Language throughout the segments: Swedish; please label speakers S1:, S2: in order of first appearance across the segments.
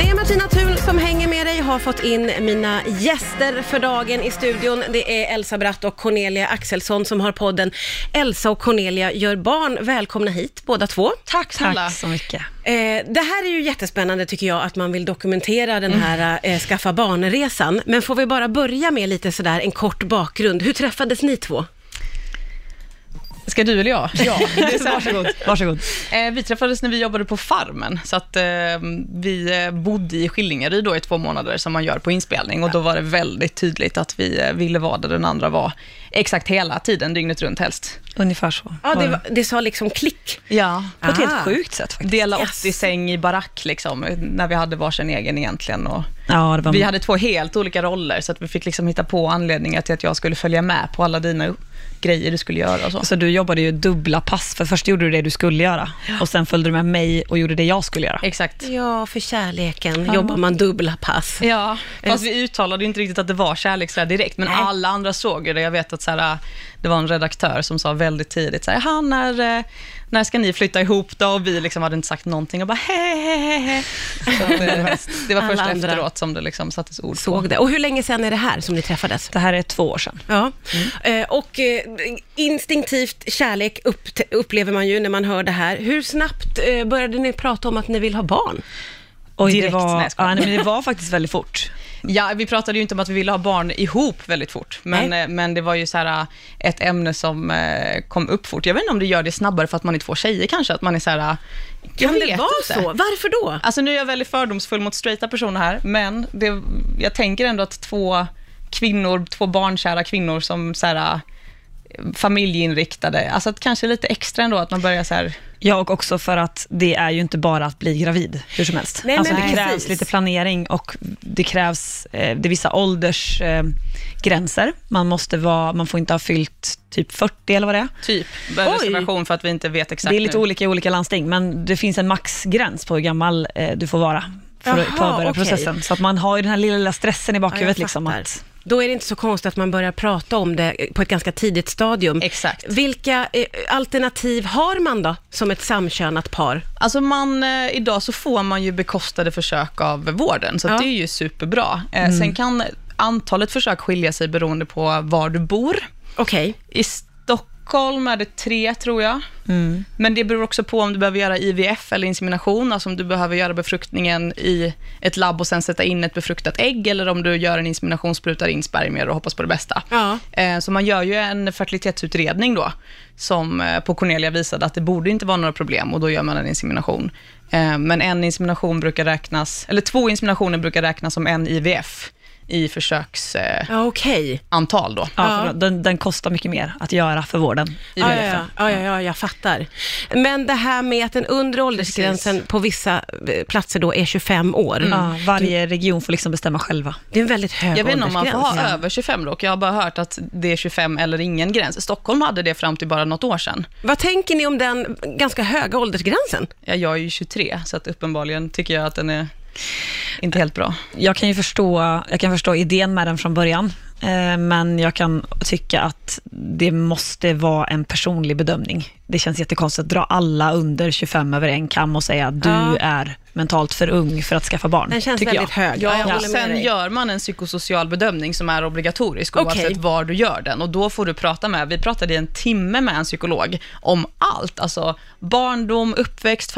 S1: Martina Thun som hänger med dig har fått in mina gäster för dagen i studion. Det är Elsa Bratt och Cornelia Axelsson som har podden Elsa och Cornelia gör barn. Välkomna hit båda två.
S2: Tack snälla.
S3: Tack så mycket.
S1: Eh, det här är ju jättespännande tycker jag, att man vill dokumentera den här eh, skaffa barnresan. Men får vi bara börja med lite sådär en kort bakgrund. Hur träffades ni två?
S3: Ska du eller jag?
S2: Ja, det är så här.
S3: Varsågod. Varsågod.
S2: Eh, vi träffades när vi jobbade på Farmen, så att eh, vi eh, bodde i Skillingaryd då i två månader som man gör på inspelning och då var det väldigt tydligt att vi eh, ville vara där den andra var exakt hela tiden, dygnet runt helst.
S3: Ungefär så.
S1: Ja, det, var- det sa liksom klick.
S2: Ja.
S3: På ett
S1: Ah.
S3: helt sjukt sätt faktiskt.
S2: Dela
S1: Yes.
S2: 80 säng i barack liksom, när vi hade varsin egen egentligen. Och
S3: Ja, det var
S2: vi hade två helt olika roller, så att vi fick liksom hitta på anledningar till att jag skulle följa med på alla dina upp- grejer du skulle göra och så.
S3: Så du jobbade ju dubbla pass, för först gjorde du det du skulle göra och sen följde du med mig och gjorde det jag skulle göra.
S2: Exakt.
S1: Ja, för kärleken jobbar man dubbla pass.
S2: Ja, fast vi uttalade ju inte riktigt att det var kärlek sådär direkt, men
S1: Nej.
S2: alla andra såg ju det. Jag vet att såhär, det var en redaktör som sa väldigt tidigt såhär, "Jaha, när, eh, när ska ni flytta ihop då? Och vi liksom hade inte sagt någonting och bara hehehe. Så att, eh, det var
S1: Alla
S2: först
S1: andra.
S2: efteråt som det liksom sattes ord på.
S1: Såg det. Och hur länge sedan är det här som ni träffades?
S3: Det här är två år sedan.
S1: Ja, Eh, och eh, instinktivt kärlek upp, upplever man ju när man hör det här. Hur snabbt eh, började ni prata om att ni vill ha barn?
S3: Oj,
S2: Direkt,
S3: det var,
S2: nej, jag skojar.
S3: ja, nej, men det var faktiskt väldigt fort.
S2: Ja, vi pratade ju inte om att vi ville ha barn ihop väldigt fort, men,
S1: Nej.
S2: eh, men det var ju så här, eh, ett ämne som eh, kom upp fort. Jag vet inte om det gör det snabbare för att man är två tjejer kanske, att man är så här, eh, jag
S1: Kan det
S2: vet
S1: vara
S2: inte.
S1: så? Varför då?
S2: Alltså nu är jag väldigt fördomsfull mot straighta personer här, men det, jag tänker ändå att två kvinnor, två barnkära kvinnor som så här, eh, familjeinriktade, alltså att kanske lite extra ändå att man börjar så här,
S3: Ja, och också för att det är ju inte bara att bli gravid hur som helst.
S1: Nej,
S3: alltså,
S1: men
S3: det
S1: precis.
S3: krävs lite planering och det krävs eh, det är vissa åldersgränser. Eh, gränser. man, måste vara, man får inte ha fyllt typ 40 eller vad det är.
S2: typ,
S1: Oj.
S2: med reservation för att vi inte vet exakt
S3: det är lite
S2: nu.
S3: olika i olika landsting, men det finns en maxgräns på hur gammal eh, du får vara för att
S1: Jaha,
S3: påbörja
S1: okej.
S3: processen. Så att man har ju den här lilla, lilla stressen i
S1: Ja, jag
S3: bakhuvudet. liksom,
S1: fattar.
S3: att,
S1: Då är det inte så konstigt att man börjar prata om det eh, på ett ganska tidigt stadium.
S2: Exakt.
S1: Vilka eh, alternativ har man då, som ett samkönat par?
S2: Alltså man, eh, idag så får man ju bekostade försök av vården, så att
S1: Ja.
S2: det är ju superbra. Eh, Sen kan antalet försök skilja sig beroende på var du bor.
S1: Okej.
S2: I Stockholm är det tre, tror jag. Men det beror också på om du behöver göra IVF eller insemination, alltså om du behöver göra befruktningen i ett labb och sen sätta in ett befruktat ägg, eller om du gör en insemination, sprutar in spermier och hoppas på det bästa.
S1: Ja.
S2: Eh, Så man gör ju en fertilitetsutredning då, som eh, på Cornelia visade att det borde inte vara några problem och då gör man en insemination. Eh, Men en insemination brukar räknas, eller två inseminationer brukar räknas som en IVF i försöksantal
S1: Ja, okej.
S2: då.
S3: ja,
S1: Ja.
S3: För den, den kostar mycket mer att göra för vården.
S1: Ja, ja, ja, ja, ja, ja, jag fattar. Men det här med att den undre åldersgränsen på vissa eh, platser då är 25 år.
S3: Mm. Ja, varje region får liksom bestämma själva.
S1: Det är en väldigt hög
S2: Jag vet inte om man
S1: åldersgräns.
S2: får ha över 25 dock. Jag har bara hört att det är 25 eller ingen gräns. Stockholm hade det fram till bara något år sedan.
S1: Vad tänker ni om den ganska höga åldersgränsen?
S2: Ja, Jag är ju 23, så att uppenbarligen tycker jag att den är inte helt bra.
S3: Jag kan ju förstå, jag kan förstå idén med den från början, eh, men jag kan tycka att det måste vara en personlig bedömning. Det känns jättekonstigt att dra alla under 25 över en kam och säga att du
S1: Ja.
S3: är mentalt för ung för att skaffa barn.
S1: Den känns
S3: tycker jag.
S1: väldigt hög. jag
S2: Ja, och
S1: håller med
S2: sen
S1: dig.
S2: gör man en psykosocial bedömning som är obligatorisk
S1: Okej.
S2: oavsett var du gör den. Och då får du prata med, vi pratade i en timme med en psykolog om allt. Alltså barndom, uppväxt,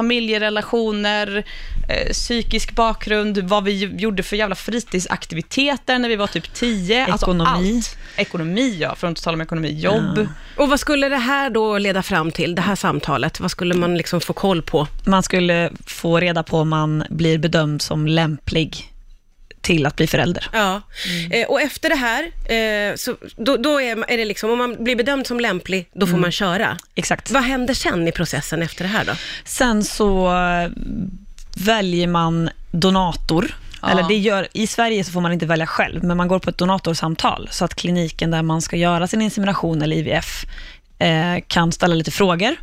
S2: familjerelationer, eh, psykisk bakgrund, vad vi gjorde för jävla fritidsaktiviteter när vi var typ 10. Alltså
S3: Ekonomi.
S2: allt. Ekonomi, ja. För att inte tala om ekonomi. Jobb.
S1: Och vad skulle det här då leda fram till, det här samtalet? Vad skulle man liksom få koll på?
S3: Man skulle få reda på om man blir bedömd som lämplig till att bli förälder.
S1: Ja. Eh, och efter det här, eh, så, då, då är, är det liksom, om man blir bedömd som lämplig, då får man köra.
S3: Exakt.
S1: Vad händer sen i processen efter det här då?
S3: Sen så eh, väljer man donator.
S2: Ja.
S3: Eller det gör, I Sverige så får man inte välja själv, men man går på ett donatorsamtal så att kliniken där man ska göra sin insemination eller IVF eh, kan ställa lite frågor.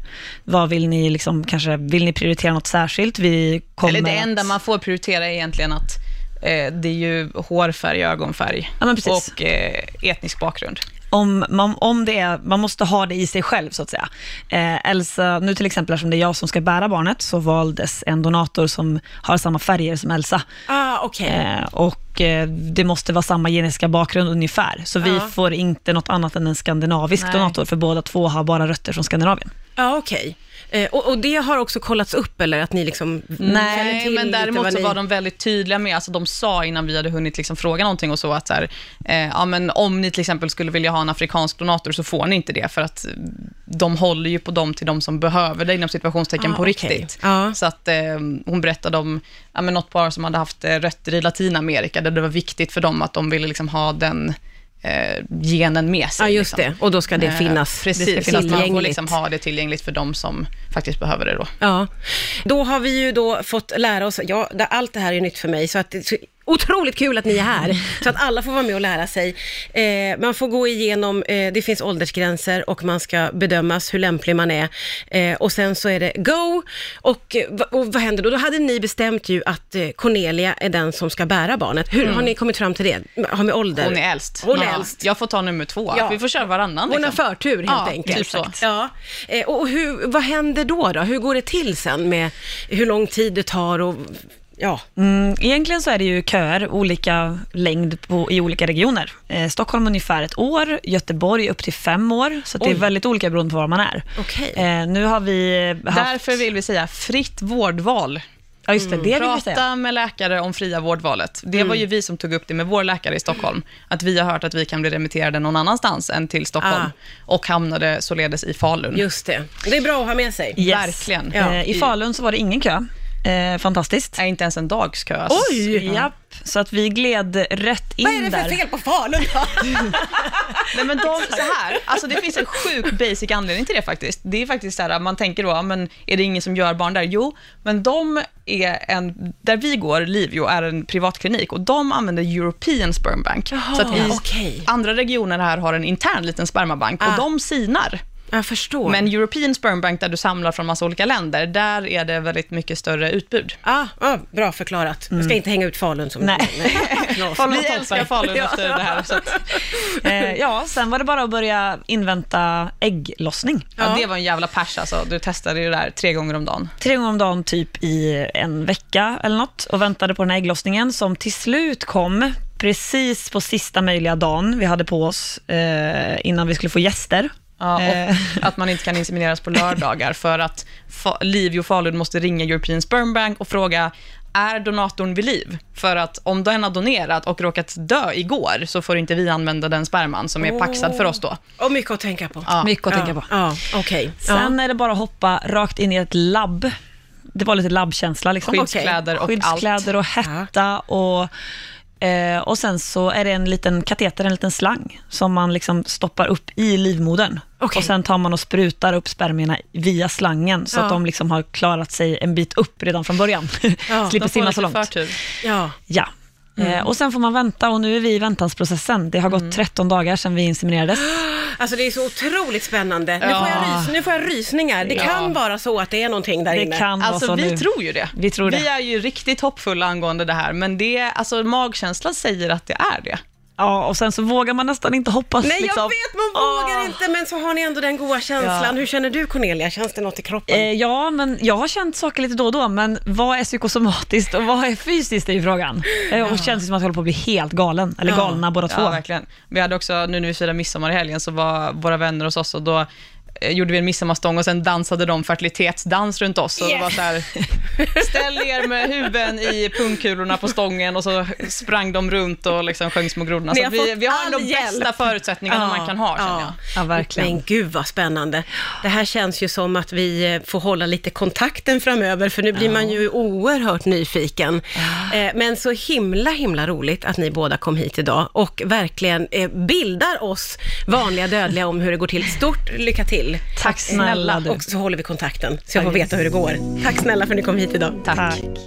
S3: Vad vill ni, liksom, kanske, vill ni prioritera något särskilt? Vi kommer
S2: Eller det
S3: att-
S2: enda man får prioritera är egentligen att eh, det är ju hårfärg, ögonfärg
S3: Ja, men precis.
S2: och eh, etnisk bakgrund.
S3: om, man, om det är, man måste ha det i sig själv så att säga. Eh, Elsa, nu till exempel eftersom det är jag som ska bära barnet, så valdes en donator som har samma färger som Elsa.
S1: Ah, okej.
S3: Eh, och eh, det måste vara samma genetiska bakgrund ungefär. Så vi
S1: Ja.
S3: får inte något annat än en skandinavisk
S2: Nej.
S3: donator, för båda två har bara rötter från Skandinavien.
S1: Ja, okej. Eh, och, och det har också kollats upp, eller att ni liksom känner
S2: Nej,
S1: till
S2: men
S1: lite
S2: däremot
S1: vad
S2: så
S1: ni-
S2: var de väldigt tydliga med, alltså de sa innan vi hade hunnit liksom fråga någonting och så att så här, eh, ja, men om ni till exempel skulle vilja ha en afrikansk donator så får ni inte det för att de håller ju på dem till de som behöver det inom situationstecken
S1: Ah,
S2: på
S1: okej.
S2: riktigt.
S1: Ja.
S2: Så att eh, hon berättade om ja, men något par som hade haft eh, rötter i Latinamerika där det var viktigt för dem att de ville liksom ha den eh, genen med sig.
S1: Ja, just
S2: liksom.
S1: det. Och då ska det
S2: Eh,
S1: finnas
S2: Precis,
S1: det ska
S2: att
S1: finnas
S2: man får
S1: tillgängligt.
S2: liksom ha det tillgängligt för de som faktiskt behöver det då.
S1: Ja, då har vi ju då fått lära oss, ja, det- allt det här är nytt för mig, så att det är så otroligt kul att ni är här, så att alla får vara med och lära sig. Eh, man får gå igenom, eh, det finns åldersgränser och man ska bedömas hur lämplig man är. Eh, och sen så är det go, och, eh, va- och vad händer då? Då hade ni bestämt ju att eh, Cornelia är den som ska bära barnet. Hur har ni kommit fram till det? Har med ålder?
S2: Mm. Hon är äldst.
S1: Hon är
S2: Ja.
S1: äldst.
S2: Jag får ta nummer två.
S1: Ja.
S2: Vi får köra varannan.
S1: Hon har
S2: liksom.
S1: förtur helt
S2: Ja,
S1: enkelt.
S2: typ så.
S1: Ja. Eh, Och hur, vad händer då, då? Hur går det till sen med hur lång tid det tar och ja.
S3: Mm, egentligen så är det ju köer, olika längd på, i olika regioner. Eh, Stockholm ungefär ett år, Göteborg upp till fem år, så att det är
S1: Oj.
S3: väldigt olika beroende på var man är.
S1: Okej.
S3: Eh, nu har vi haft...
S2: Därför vill vi säga fritt vårdval.
S3: Ja, just det, det vill
S1: Mm,
S3: vi säga.
S2: Prata med läkare om fria vårdvalet. Det var ju vi som tog upp det med vår läkare i Stockholm. Att vi har hört att vi kan bli remitterade någon annanstans än till Stockholm.
S1: Ah.
S2: Och hamnade således i Falun.
S1: Just det. Det är bra att ha med sig.
S3: Yes.
S2: Verkligen.
S1: Ja.
S3: Eh, I Falun så var det ingen kö. Eh, fantastiskt.
S2: Är inte ens en dags kö. alltså.
S1: Oj!
S3: Japp, så att vi gled rätt in
S1: Vad är det
S3: där.
S1: för fel på Falun då?
S2: Nej, men de, så här, alltså det finns en sjuk basic anledning till det faktiskt. Det är faktiskt så här, man tänker då, ja, men är det ingen som gör barn där? Jo, men de är en, där vi går, Livio, är en privatklinik och de använder European Sperm Bank.
S1: Jaha,
S2: så att vi,
S1: okej.
S2: andra regioner här har en intern liten spermabank
S1: Ah.
S2: och de sinar.
S1: Jag förstår.
S2: Men European Sperm Bank där du samlar från massa olika länder, där är det väldigt mycket större utbud.
S1: Ah, ah, bra förklarat. Jag ska inte hänga ut Falun som...
S3: Mm. Nej.
S1: Knas.
S3: Falun
S2: Vi
S3: och Toppberg.
S2: älskar Falun
S3: Ja.
S2: efter det här. Så att,
S3: Eh, ja, sen var det bara att börja invänta ägglossning.
S2: ja, det var en jävla pers alltså. Du testade ju det där tre gånger om dagen.
S3: Tre gånger om dagen typ i en vecka eller något och väntade på den här ägglossningen som till slut kom precis på sista möjliga dagen vi hade på oss eh, innan vi skulle få gäster.
S2: Ja, och
S3: Eh,
S2: att man inte kan insemineras på lördagar för att fa- Livio Falun måste ringa European Sperm Bank och fråga är donatorn vid liv? För att om den har donerat och råkat dö igår så får inte vi använda den sperman som är paxad för oss då.
S1: Och mycket att tänka på.
S2: Ja.
S3: mycket att tänka
S1: Ja,
S3: på.
S1: ja, okej.
S3: Sen är det bara att hoppa rakt in i ett labb. Det var lite labbkänsla. Liksom.
S2: Skyddskläder och
S3: Skyddskläder och hetta. Och, eh, och sen så är det en liten kateter, en liten slang, som man liksom stoppar upp i livmodern.
S1: Okej.
S3: Och sen tar man och sprutar upp spermierna via slangen, så
S1: Ja.
S3: att de liksom har klarat sig en bit upp redan från början. Slipper
S2: De får
S3: simma
S2: lite
S3: så långt.
S2: förtur. Mm.
S1: Ja.
S3: Ja. Eh, och sen får man vänta och nu är vi i väntansprocessen. Det har gått 13 dagar sedan vi inseminerades.
S1: Alltså det är så otroligt spännande. Nu,
S2: Ja.
S1: får jag rys- nu får jag rysningar. Det
S2: Ja.
S1: kan vara så att det är någonting där
S3: Det
S1: inne.
S3: kan vara
S2: Alltså
S3: så
S2: vi
S3: nu.
S2: tror ju det.
S3: Vi tror
S2: Vi
S3: det.
S2: är ju riktigt hoppfulla angående det här, men det, alltså magkänslan säger att det är det.
S3: Ja, och sen så vågar man nästan inte hoppas.
S1: Nej,
S3: liksom. Ah.
S1: jag vet, man vågar
S3: Åh.
S1: inte, men så har ni ändå den goda känslan. Hur känner du Cornelia? Känns det något i kroppen?
S3: Eh, ja, men jag har känt saker lite då och då, men vad är psykosomatiskt och vad är fysiskt är ju frågan. Eh, och känns det som att jag håller på att bli helt galen, eller
S1: Ja.
S3: galna båda två.
S2: Ja, verkligen. Vi hade också, nu när vi firade midsommar i helgen, så var våra vänner hos oss och då eh, gjorde vi en midsommarstång och sen dansade de fertilitetsdans runt oss. Och det
S1: Yeah.
S2: var så här, ställ er med huvuden i pungkulorna på stången och så sprang de runt och liksom sjöng Små grodorna.
S1: Ni
S2: Så
S1: har
S2: att vi,
S1: fått
S2: vi har
S1: all
S2: ändå de bästa
S1: hjälp.
S2: förutsättningarna man kan ha, känner jag.
S3: Ja, verkligen.
S1: Men gud vad spännande. Det här känns ju som att vi eh, får hålla lite kontakten framöver, för nu blir man ju oerhört nyfiken. Eh, Men så himla, himla roligt att ni båda kom hit idag och verkligen eh, bildar oss vanliga dödliga om hur det går till. Stort lycka till!
S3: Tack snälla du.
S1: Och så håller vi kontakten, så jag får veta hur det går. Tack snälla för att ni kom hit idag.
S2: Tack.